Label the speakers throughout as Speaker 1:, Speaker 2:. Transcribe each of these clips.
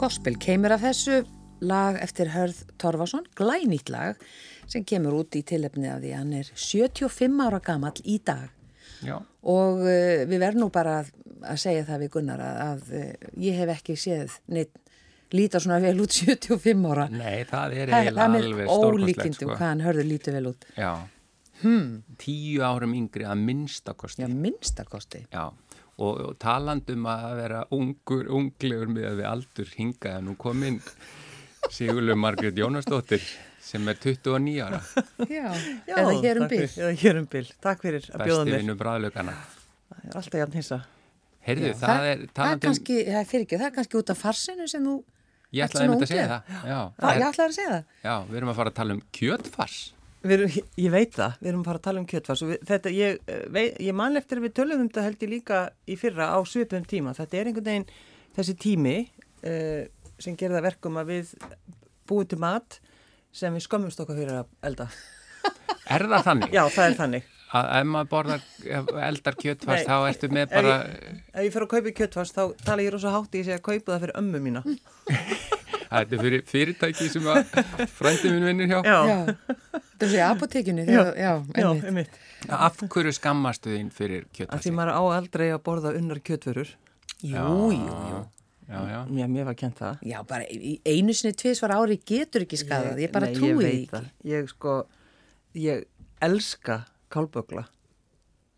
Speaker 1: Gospel kemur af þessu lag eftir Hörð Torfason, glænýtt lag sem kemur út í tilefni af því að hann er 75 ára gamall í dag
Speaker 2: Já.
Speaker 1: og uh, við verðum nú bara að, að segja það við Gunnar að, að uh, ég hef ekki séð neitt lítar svona vel út 75 ára
Speaker 2: Nei, það er
Speaker 1: Það það er
Speaker 2: eiginlega alveg
Speaker 1: með
Speaker 2: stórkostlegt
Speaker 1: ólíkindum
Speaker 2: sko.
Speaker 1: hvað hann hörður lítið vel út
Speaker 2: Já. Tíu árum yngri að minnstakosti.
Speaker 1: Já, minnstakosti
Speaker 2: Já. Og, og talandum að vera ungur, unglegur með að við aldur hinga en nú komin Sigurlu Margrét Jónasdóttir sem er 29 ára,
Speaker 1: Já, eða hér um
Speaker 3: takk fyrir-
Speaker 1: bygg
Speaker 3: Eða hér um bíl, takk fyrir að bjóða
Speaker 2: besti
Speaker 3: mér.
Speaker 2: vinnu bræðlökana.
Speaker 3: Það er alltaf jafn hinsa.
Speaker 2: Heyrðu, það, er um-
Speaker 1: það er
Speaker 2: talandum,
Speaker 1: kannski, það er fyrir ekki, það er kannski út af farsinu sem þú ert
Speaker 2: ég ætlaði
Speaker 1: svona
Speaker 2: einmitt að segja
Speaker 1: ungleg.
Speaker 2: það. Já,
Speaker 1: Það,
Speaker 2: það
Speaker 1: ég
Speaker 2: er,
Speaker 1: ætlaði að segja það.
Speaker 2: já, við erum að fara að tala um kjötfars.
Speaker 3: Við Erum, ég veit það, við erum að fara að tala um kjötfars og við, þetta, ég, eh, vei, ég man eftir að við töluðum um þetta held ég líka í fyrra á svipum tíma. Þetta er einhvern veginn þessi tími uh, sem gerir það verkum að við búum til mat sem við skömmumst okkar fyrir að elda.
Speaker 2: Er það þannig?
Speaker 3: Já, það er þannig.
Speaker 2: Að ef maður borðar, ef eldar kjötfars
Speaker 3: Nei.
Speaker 2: þá ertu með
Speaker 3: Ef
Speaker 2: bara,
Speaker 3: ég, ef ég fer að kaupa í kjötfars þá tala ég rosa hátt í að ég kaupa það fyrir ömmu mína.
Speaker 2: þetta er fyrir fyrirtæki sem að frændi minn vinnur hjá.
Speaker 1: Já, þú sé apotekinu,
Speaker 3: já,
Speaker 1: þegar, já,
Speaker 3: já,
Speaker 1: einmitt.
Speaker 3: einmitt.
Speaker 2: Af hverju skammastu þín fyrir
Speaker 3: Að því
Speaker 2: kjötfarsi?
Speaker 3: maður á aldrei að borða unnar kjötfurur.
Speaker 1: Jú, jú, jú.
Speaker 2: Já, já.
Speaker 3: Já, mér var kent það.
Speaker 1: Já, bara í einu sinni tviðsvar ári getur ekki skadað, ég bara
Speaker 3: Nei,
Speaker 1: trúi því
Speaker 3: veit
Speaker 1: ekki.
Speaker 3: það. Ég sko, ég elska kálbögla.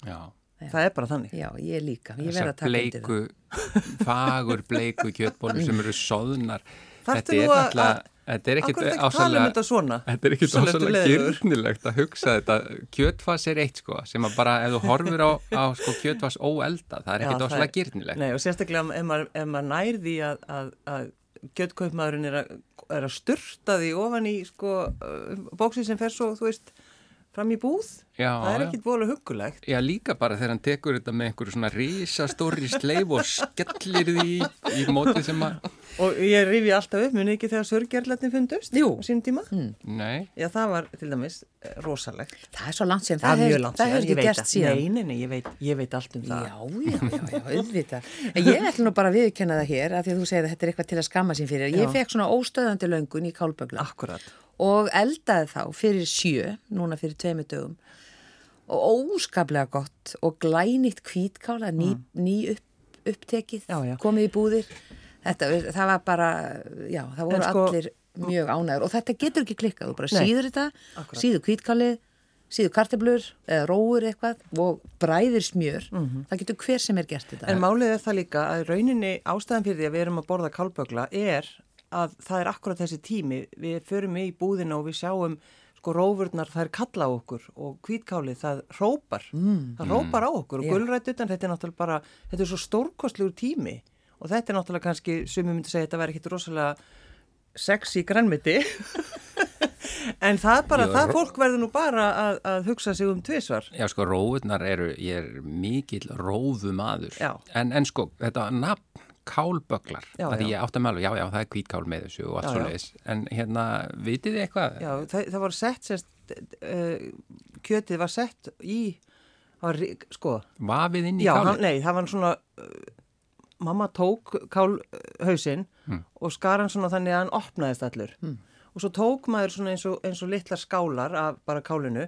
Speaker 2: já.
Speaker 3: Það er bara þannig.
Speaker 1: Já, ég líka, ég verð
Speaker 2: Þessar
Speaker 1: að taka undir það.
Speaker 2: bleiku, fagur bleiku kjötbólur sem eru soðnar.
Speaker 3: Þarftu
Speaker 2: Þetta er
Speaker 3: nú að-
Speaker 2: náttúrulega, þetta er
Speaker 3: Akkur
Speaker 2: ekkit
Speaker 3: þetta ekki tala um þetta svona.
Speaker 2: Þetta er ekkit
Speaker 3: Hugsanlegt
Speaker 2: ásalega
Speaker 3: leiður.
Speaker 2: gyrnilegt að hugsa þetta. Kjötfars er eitt sko, sem að bara ef þú horfir á, á sko, kjötfars óelda, það er
Speaker 3: Já,
Speaker 2: ekkit
Speaker 3: það
Speaker 2: ásalega
Speaker 3: er-
Speaker 2: gyrnilegt.
Speaker 3: Nei, og sérstaklega ef maður, ef maður nær því að, að, að gjötkaupmaðurinn er, að- er að styrta því ofan í sko, bóksi sem fer svo, þú veist, fram í búð.
Speaker 2: Já,
Speaker 3: það er
Speaker 2: já.
Speaker 3: ekkit vola huggulegt.
Speaker 2: Já, líka bara þegar hann tekur þetta með einhverju svona risastóri sleif og skellir því í, í móti sem að...
Speaker 3: Og ég rifi alltaf upp, muni ekki þegar sörgjarlætni fundust
Speaker 1: Jú. Mm.
Speaker 3: á sínum tíma.
Speaker 2: Nei,
Speaker 3: Já, það var til dæmis eh, rosalegt.
Speaker 1: Það er svo langt síðan, það
Speaker 3: Það er mjög
Speaker 1: hefur-
Speaker 3: langt
Speaker 1: það
Speaker 3: síðan,
Speaker 1: hefur
Speaker 3: ég
Speaker 1: ekki
Speaker 3: veit
Speaker 1: gerst síðan.
Speaker 3: Nei, nei, nei, ég veit, ég veit allt um það.
Speaker 1: Já, já, já, já, auðvitað. En ég ætla nú bara að viðkenna það hér, af því að þú segir að þetta er eitthvað til að skamma sín fyrir. Ég
Speaker 3: Já.
Speaker 1: fekk svona óstöðandi löngun í kálbögla.
Speaker 3: Akkurat.
Speaker 1: og eldaði þá fyrir sjö, núna fyrir tveimu dögum og óskaplega gott og glænýtt kvítkála, ný, ný upp, upptekið,
Speaker 3: Mm. Já, já.
Speaker 1: komið í búðir. Þetta, það var bara, já, það voru
Speaker 3: En sko-
Speaker 1: allir mjög ánægur og þetta getur ekki klikkað, þú bara
Speaker 3: Nei.
Speaker 1: síður þetta, síður kvítkálið, síður karteblur eða róur eitthvað og bræðir smjör, það getur hver sem er gert þetta.
Speaker 3: Mhm. En málið er það líka að í rauninni ástæðan fyrir því að við erum að borða kálbögla er að það er akkurat þessi tími. Við förum í búðina og við sjáum sko rófurnar, það er kalla á okkur og hvítkálið, það hrópar, það hrópar á okkur og gulrætt utan þetta er náttúrulega bara, þetta er svo stórkostlegur tími og þetta er náttúrulega kannski, sumið myndi segja, þetta væri ekkit rosalega sexy grænmiti en það er bara,
Speaker 2: Jú,
Speaker 3: það
Speaker 2: ró-
Speaker 3: fólk verður nú bara að, að hugsa sig um tvisvar.
Speaker 2: já sko, róðunar eru, ég er mikill róðumadur.
Speaker 3: Já.
Speaker 2: En, en sko, þetta nafn, kálbögglar,
Speaker 3: Já,
Speaker 2: að
Speaker 3: já.
Speaker 2: ég átti að meðlu, já, já, það er kvítkál með þessu og allt
Speaker 3: Já,
Speaker 2: svo
Speaker 3: já.
Speaker 2: leiðis. En hérna, vitið þið eitthvað?
Speaker 3: Já, það, það var sett semst, uh, kjötið var sett í, það var, ri- sko,
Speaker 2: Vafið inn í
Speaker 3: já, hann,
Speaker 2: kálið?
Speaker 3: nei, það var svona, uh, mamma tók kálhausinn
Speaker 2: Hmm.
Speaker 3: og skar hann svona þannig að hann opnaðist allur. Og svo tók maður svona eins og, eins og litlar skálar af bara kálinu,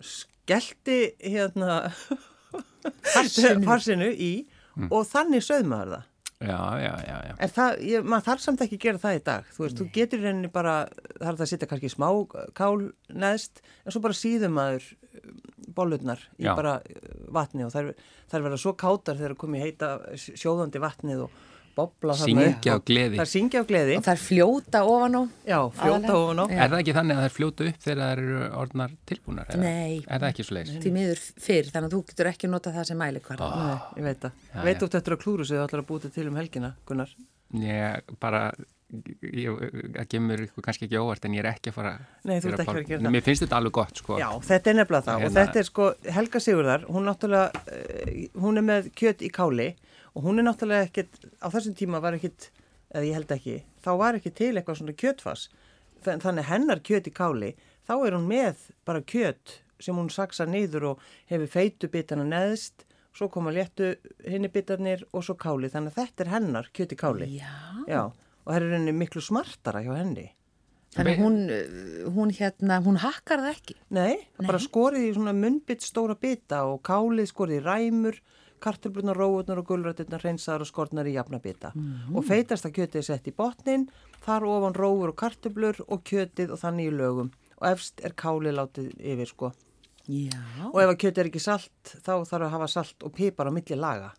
Speaker 3: skellti hérna farsinu, í
Speaker 2: Hmm.
Speaker 3: og þannig sögð maður það.
Speaker 2: Já, já, já, já.
Speaker 3: En það, ég, maður þarf samt ekki að gera það í dag, þú veist, þú getur í rauninni bara, það er það að setja kannski smá eh, kál neðst, en svo bara síðum maður eh, bollurnar í
Speaker 2: Já.
Speaker 3: bara eh, vatni og þær, þær verða svo kátar þegar komið heita eh, sjóðandi vatnið og bobla
Speaker 2: Syngja
Speaker 3: upp
Speaker 2: af gleði.
Speaker 3: Það syngja á gleði,
Speaker 1: og það er fljóta ofan á.
Speaker 3: já,
Speaker 1: Aðallega.
Speaker 3: fljóta ofan á.
Speaker 2: Er það ekki þannig að þær fljóta upp þegar þær eru orðnar tilbúnar? eða?
Speaker 1: Nei.
Speaker 2: Er það ekki svo leiðis?
Speaker 1: Því miður fyrr, þannig að þú getur ekki nota það sem mælikvarða.
Speaker 3: Nei, ég veit það.
Speaker 2: Já,
Speaker 3: Ég veit
Speaker 2: já.
Speaker 3: út eftir að klúru sig þú ætlar að búta til um helgina, Gunnar.
Speaker 2: Ég bara, ég, það kemur ykkur kannski ekki óvart en ég er ekki að fara
Speaker 3: Nei,
Speaker 2: gera
Speaker 3: þú ert ekki að
Speaker 2: pál-
Speaker 3: gera
Speaker 2: Nei,
Speaker 3: það.
Speaker 2: Mér finnst þetta alveg gott, sko.
Speaker 3: Já, þetta er nefnilega það og
Speaker 2: Hérna-
Speaker 3: þetta er sko Helga Sigurðar, hún náttúrulega, eh, hún er með kjöt í káli og hún er náttúrulega ekkit, á þessum tíma var ekkit, eða ég held ekki, þá var ekki til eitthvað svona kjötfass, Þa- þannig hennar kjöt í káli, þá er hún með bara kjöt sem hún saksa niður og hefur feitu bitana neðst, svo koma léttu hinni bitarnir og svo káli, þannig að þetta er hennar kjöt í káli.
Speaker 1: Já.
Speaker 3: Já, og og það er í rauninni miklu smartara hjá henni.
Speaker 1: Þannig hún, uh, hún hérna, hún hakkar það ekki.
Speaker 3: Nei, bara skorið í svona munnbytt stóra bita og kálið skorið í ræmur, kartöflunar, róutnar og gulrættirnar hreinsaðar og skornar í jafna bita. Og feitasta kjötið er sett í botnin, þar ofan róur og kartöflur og kjötið og þannig í lögum. Og efst er kálið látið yfir sko.
Speaker 1: Já.
Speaker 3: Og ef að kjötið er ekki salt, þá þarf að hafa salt og pipar á milli laga.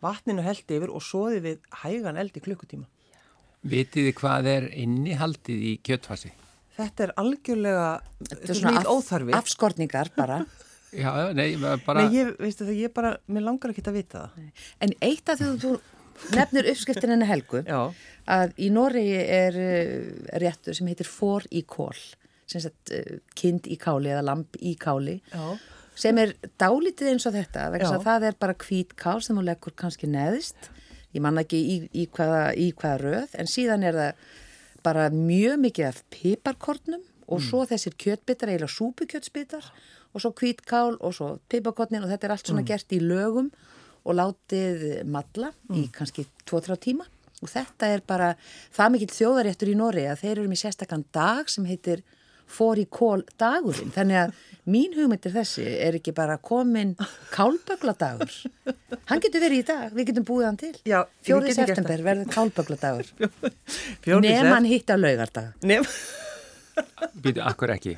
Speaker 3: Vatninu held yfir og soðið við hægan eldi klukkutíma.
Speaker 2: Vitið þið hvað er innihaldið í kjötfasi?
Speaker 3: Þetta er algjörlega, þetta er
Speaker 1: svona
Speaker 3: svona óþarfi.
Speaker 1: afskorningar bara.
Speaker 2: Já, nei, bara...
Speaker 3: Nei, ég, veistu það, ég bara, mér langar ekki að vita það.
Speaker 1: En eitt af því að þú nefnir uppskriftin henni Helgu,
Speaker 3: Já.
Speaker 1: að í Noregi er uh, réttur sem heitir fór í kól, sem sagt uh, kind í káli eða lamp í káli,
Speaker 3: Já.
Speaker 1: sem er dálítið eins og þetta, vegna þess
Speaker 3: Já.
Speaker 1: að það er bara hvít kál sem hún leggur kannski neðist, ég man ekki í, í, hvaða, í hvaða röð, en síðan er það bara mjög mikið af piparkornum og
Speaker 3: Mm.
Speaker 1: svo þessir kjötbitar, eiginlega súpukjötsbitar og svo kvítkál og svo piparkornin og þetta er allt
Speaker 3: Mm.
Speaker 1: svona gert í lögum og látið matla
Speaker 3: Mm.
Speaker 1: í kannski 2-3 tíma og þetta er bara það mikill þjóðaréttur í Nóri að þeir eru með sérstakann dag sem heitir fór í kól dagurinn þannig að mín hugmynd er þessi er ekki bara komin kálbögladagur hann getur verið í dag, við getum búið hann til
Speaker 3: Já,
Speaker 1: 4.
Speaker 3: við getum gert
Speaker 1: september verður kálbögladagur
Speaker 3: Fjórði
Speaker 1: Nefn
Speaker 3: sef-
Speaker 1: hann hitt á laugardag.
Speaker 3: Nefn,
Speaker 2: Býtu, akkur ekki.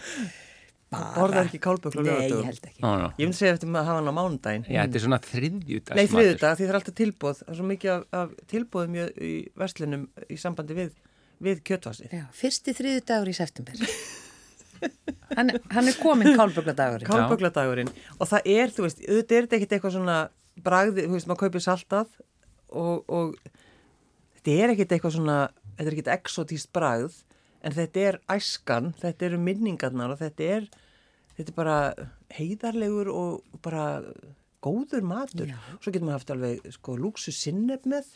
Speaker 3: borðar ekki kálböklu á
Speaker 1: Nei, ég
Speaker 3: laugardögum.
Speaker 1: held ekki.
Speaker 2: Ó, no.
Speaker 3: Ég myndi segja eftir maður að hafa hann á mánudaginn.
Speaker 2: Já, þetta er svona þriðjudags.
Speaker 3: Nei, þriðu dag, því það er alltaf tilbúð. Það er svo mikið af, af tilbúðum í, í verslinum í sambandi við, við kjötvasið.
Speaker 1: Já, fyrsti þriðu dagur í september. hann, hann er komin kálbögladagurinn.
Speaker 3: Kálbökladagurinn. Og það er, þú veist, auðvitað er þetta ekkit eitthvað svona bragði, þú veist, maður kaupir saltað og, og þetta er ekkit eitthvað svona, þetta er ekkit exotíst bragð, en þetta er æskan, þetta eru minningarnar og þetta er, þetta er bara heiðarlegur og bara góður matur.
Speaker 1: Já.
Speaker 3: Svo getur maður haft alveg sko lúksu sinneb með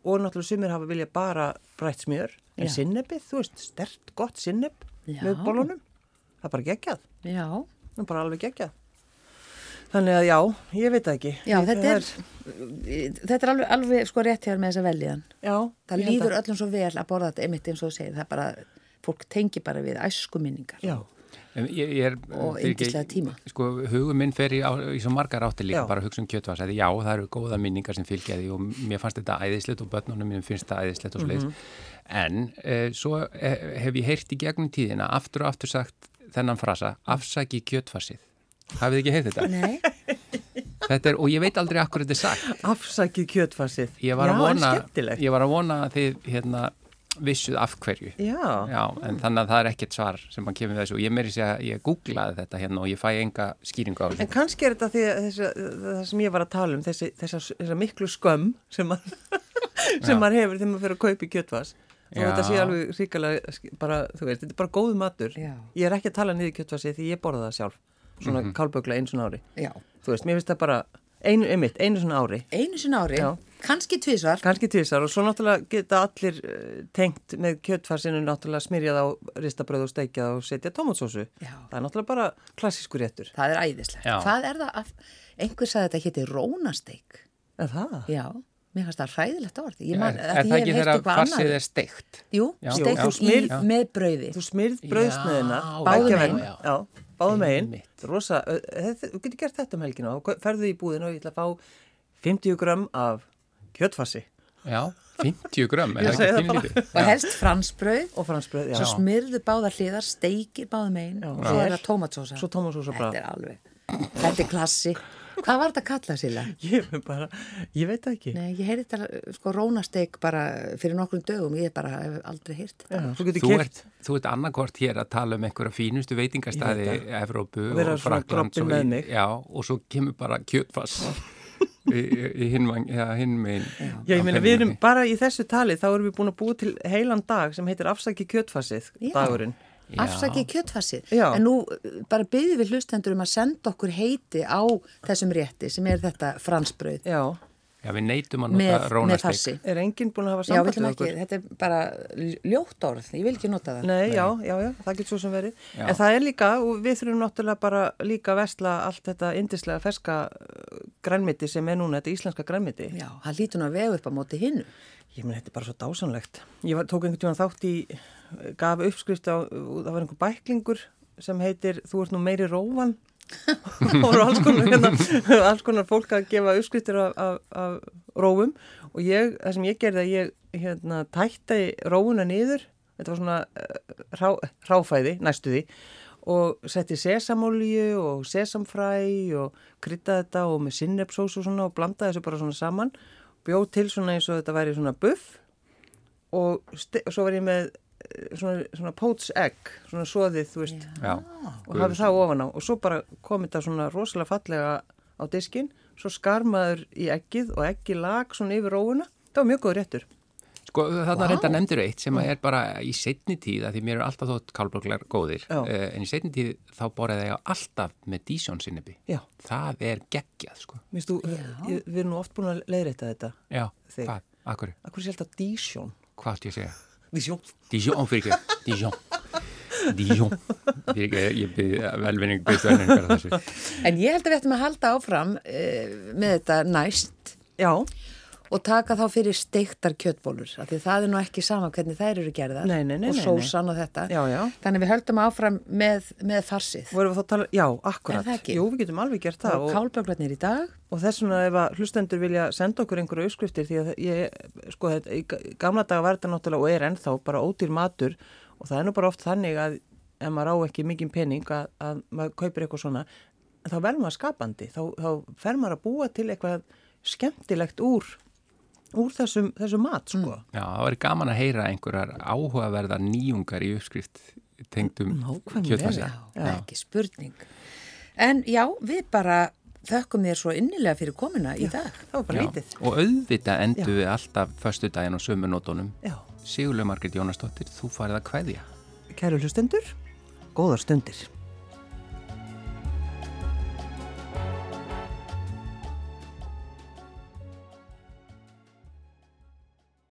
Speaker 3: og náttúrulega sumir hafa vilja bara brætt smjör, en
Speaker 1: Já.
Speaker 3: sinnebið, þú veist, stert gott sinneb
Speaker 1: Já.
Speaker 3: með bólunum, það er bara geggjað.
Speaker 1: Já,
Speaker 3: Það er bara alveg geggjað. Þannig að já, ég veit það ekki.
Speaker 1: já
Speaker 3: Ég-
Speaker 1: þetta,
Speaker 3: það
Speaker 1: er, þetta er alveg, alveg sko rétt hér með þessa veljan.
Speaker 3: Já,
Speaker 1: Það
Speaker 3: ég held
Speaker 1: líður
Speaker 3: að-
Speaker 1: öllum svo vel að borða þetta einmitt eins og þú segir. Það er bara, fólk tengi bara við æskuminningar.
Speaker 3: Já,
Speaker 2: En Ég, ég er,
Speaker 1: Og
Speaker 2: fyrir ekki-
Speaker 1: yndislega tíma.
Speaker 2: Sko, hugum minn fer í, á, í svo margar átti líka
Speaker 3: Já.
Speaker 2: bara að hugsa um kjötvars að já, það eru góða minningar sem fylgja því og mér fannst þetta æðislegt og börnunum mér finnst þetta æðislegt og sliðis en e, svo e, hef ég heyrt í gegnum tíðina aftur og aftur sagt þennan frasa afsaki kjötvarsið hafið þið ekki heyrt þetta?
Speaker 1: Nei,
Speaker 2: þetta er, og ég veit aldrei akkur þetta er sagt
Speaker 3: afsakið kjötfarsið.
Speaker 2: ég var,
Speaker 3: já,
Speaker 2: að vona,
Speaker 3: en skemmtilegt.
Speaker 2: ég var að vona að þið hérna, vissuð af hverju
Speaker 3: Já.
Speaker 2: en þannig að það er ekkert svar sem mann kemur við þessu og ég meiri segja að ég googlaði þetta hérna og ég fæ enga skýringu á
Speaker 3: En
Speaker 2: þessu
Speaker 3: kannski er þetta því að þessi, það sem ég var að tala um, þessi, þessa, þessa miklu skömm sem maður, sem maður hefur þegar maður fyrir að kaupa í kjötvars. Og
Speaker 2: Já.
Speaker 3: þetta sé alveg ríkalega, sk- bara, þú veist, þetta er bara góð matur.
Speaker 1: Já.
Speaker 3: Ég er ekki að tala niður kjötvarsið því ég borða það sjálf, svona mm
Speaker 2: Mhm.
Speaker 3: -hmm. kálbögla einu svona ári.
Speaker 1: já.
Speaker 3: Þú veist, mér finnst það bara, einu, einmitt, einu svona ári.
Speaker 1: Einu sinna ári,
Speaker 3: Já.
Speaker 1: kannski tvísvar.
Speaker 3: Kanski tvisar og svo náttúrulega geta allir eh, tengt með kjötfarsinu náttúrulega smyrjað á ristabröð og steikjað og setja tomatsósu.
Speaker 1: Já.
Speaker 3: Það er náttúrulega bara klassískur réttur.
Speaker 1: Það er æðislegt.
Speaker 2: Já.
Speaker 1: Hvað er það að, einhver sagði þetta hétti rónasteik.
Speaker 3: En það?
Speaker 1: Já, mér fannst það hræðilegt orð. Ég
Speaker 2: Er,
Speaker 1: Man, af
Speaker 2: er
Speaker 1: því
Speaker 2: það
Speaker 1: ég
Speaker 2: ekki
Speaker 1: hef heyrt
Speaker 2: þegar
Speaker 1: eitthvað annað.
Speaker 2: farsið er steikt?
Speaker 1: Jú,
Speaker 2: Já.
Speaker 1: steikt
Speaker 2: Já.
Speaker 1: og
Speaker 3: Smyr-
Speaker 1: smyrð með brauði.
Speaker 3: Þú smyrð brauðsnöðina,
Speaker 2: Já,
Speaker 1: já,
Speaker 3: bækja
Speaker 1: já, já.
Speaker 3: veginn, já, báðum meginn,
Speaker 2: Einmitt.
Speaker 3: rosa, ö, þetta- þú getur gert þetta um helgina og ferðu í búðinu og ég ætla að fá 50 gram af kjötfarsi
Speaker 2: Já, 50 grömm er
Speaker 3: Ég
Speaker 2: það
Speaker 3: segi
Speaker 2: ekki
Speaker 3: það bara.
Speaker 2: kynlítið?
Speaker 1: Og helst fransbrauð
Speaker 3: og fransbröð, já,
Speaker 1: svo smyrðu báðar hliðar, steikir báðum einn og svo
Speaker 3: Já.
Speaker 1: er það tómatsósa.
Speaker 3: Svo tómatsósa bara.
Speaker 1: Þetta er alveg, þetta er klassi. Hvað var þetta að kalla síla?
Speaker 3: ég er bara, ég veit það ekki,
Speaker 1: Nei, ég heyrði þetta sko rónasteik bara fyrir nokkrum dögum, ég hef bara hef aldrei heyrt þetta.
Speaker 3: já, þú getur
Speaker 2: Þú
Speaker 3: kert,
Speaker 2: ert, þú ert annarkort hér að tala um einhverja fínustu veitingastæði Evrópu
Speaker 3: Og
Speaker 2: og,
Speaker 3: vera
Speaker 2: og
Speaker 3: svona
Speaker 2: Frakland
Speaker 3: grobbin með mig.
Speaker 2: já, og svo kemur bara kjötfass í, í, í hinn vang- já, hinn megin
Speaker 3: já,
Speaker 2: á
Speaker 3: ég meina við erum
Speaker 2: peningnum.
Speaker 3: bara í þessu tali, þá erum við búin að búa til heilan dag sem heitir afsaki kjötfarsið,
Speaker 1: Já.
Speaker 3: dagurinn.
Speaker 2: Já.
Speaker 1: Afsakið kjötfassið.
Speaker 3: Já.
Speaker 1: En nú uh, bara byggjum við hlustendur um að senda okkur heiti á þessum rétti sem er þetta fransbrauð
Speaker 3: Já,
Speaker 2: Já, við neytum að
Speaker 1: með,
Speaker 2: nota
Speaker 1: með
Speaker 2: rónasteik
Speaker 1: fassi.
Speaker 3: er enginn búin að hafa
Speaker 1: Já, við ætlum
Speaker 3: samband við
Speaker 1: ekki,
Speaker 3: okkur?
Speaker 1: þetta er bara ljótt orð, ég vil ekki nota það.
Speaker 3: Nei, já, já, já, það getur svo sem verið.
Speaker 2: Já.
Speaker 3: En það er líka, og við þurfum náttúrulega bara líka að vesla allt þetta uh, indislega ferska grænmiti sem er núna, þetta íslenska grænmiti.
Speaker 1: Já, hann lítur nú að vega upp á móti hinnu.
Speaker 3: Ég meni, þetta er bara svo dásanlegt. Ég var, tók einhvern tíma þátt í, gaf uppskrift á, það var einhver bæklingur sem heitir Þú ert nú meiri róvan og voru alls konar, hérna, alls konar fólk að gefa uppskriftir af, af, af rófum og ég, það sem ég gerði að ég hérna, tætti róuna niður, þetta var svona eh, rá, ráfæði, næstu því og setti sesamolju og sesamfræ og krytta þetta og með sinnepsós og svona og blandaði þessu bara svona saman bjóð til svona eins og þetta væri svona buff og, ste- og svo var ég með eh, svona, svona poach egg svona soðið, þú veist
Speaker 2: Já,
Speaker 3: og hafið það ofan á og svo bara kom þetta svona rosalega fallega á diskin svo skarmaður í eggið og eggi lag svona yfir róuna, það var mjög góð réttur
Speaker 2: Sko þarna reynda nefndur eitt sem að er bara í setni tíð að því mér eru alltaf þótt kálböglar góðir
Speaker 3: Já.
Speaker 2: uh, en í setni tíð þá borðið ég á alltaf með dísjón sinnebi.
Speaker 3: Já.
Speaker 2: Það er geggjað sko.
Speaker 3: Minnst þú, ég, við erum nú oft búin að leiðrætta þetta
Speaker 2: Já,
Speaker 3: Þig.
Speaker 2: hvað? Akkur,
Speaker 3: Akkur sé alltaf dísjón
Speaker 2: hvað ætti ég að segja?
Speaker 3: Dísjón?
Speaker 2: Dijon fyrir ekki, Dijon Dijon Fyrir ekki, ég byrði velvinning byrði velvinningar að þessu
Speaker 1: En ég held að við ættum að halda áfram uh, með þetta næst
Speaker 3: Já,
Speaker 1: og taka þá fyrir steiktar kjötbólur af því það er nú ekki sama hvernig þær eru gerðar
Speaker 3: Nei, nei, nei,
Speaker 1: og
Speaker 3: nei, nei.
Speaker 1: sósan og þetta
Speaker 3: Já, já.
Speaker 1: þannig við höldum áfram með, með farsið
Speaker 3: vorum við þá að tala, já, akkurat
Speaker 1: Er það ekki?
Speaker 3: Jú, við getum alveg gert það
Speaker 1: og
Speaker 3: og,
Speaker 1: kálböglarnir í dag
Speaker 3: og þess vegna ef að hlustendur vilja senda okkur einhverju auðskriftir því að ég, sko, þetta, í ga- gamla daga var þetta náttúrulega og er ennþá bara ódýr matur og það er nú bara oft þannig að ef maður á ekki mikinn pening að, að maður kaupir eitthvað svona þá verður maður skapandi, þá, þá fer maður að búa til eitthvað skemmtilegt úr, úr þessum, þessum mat, sko.
Speaker 2: Já, það væri gaman að heyra einhverjar áhugaverðar nýjungar í uppskrift tengdum
Speaker 3: Nákvæmlega.
Speaker 2: kjötfasa
Speaker 1: já, ekki spurning en já, við bara þökkum þér svo innilega fyrir komuna í dag
Speaker 3: Það var bara lítið.
Speaker 2: Og auðvitað endur við alltaf föstudaginn og sömunótonum
Speaker 3: Já,
Speaker 2: Sigurlega Margrét Jónasdóttir, þú farið að kveðja
Speaker 3: kæru hlustendur, góðar stundir.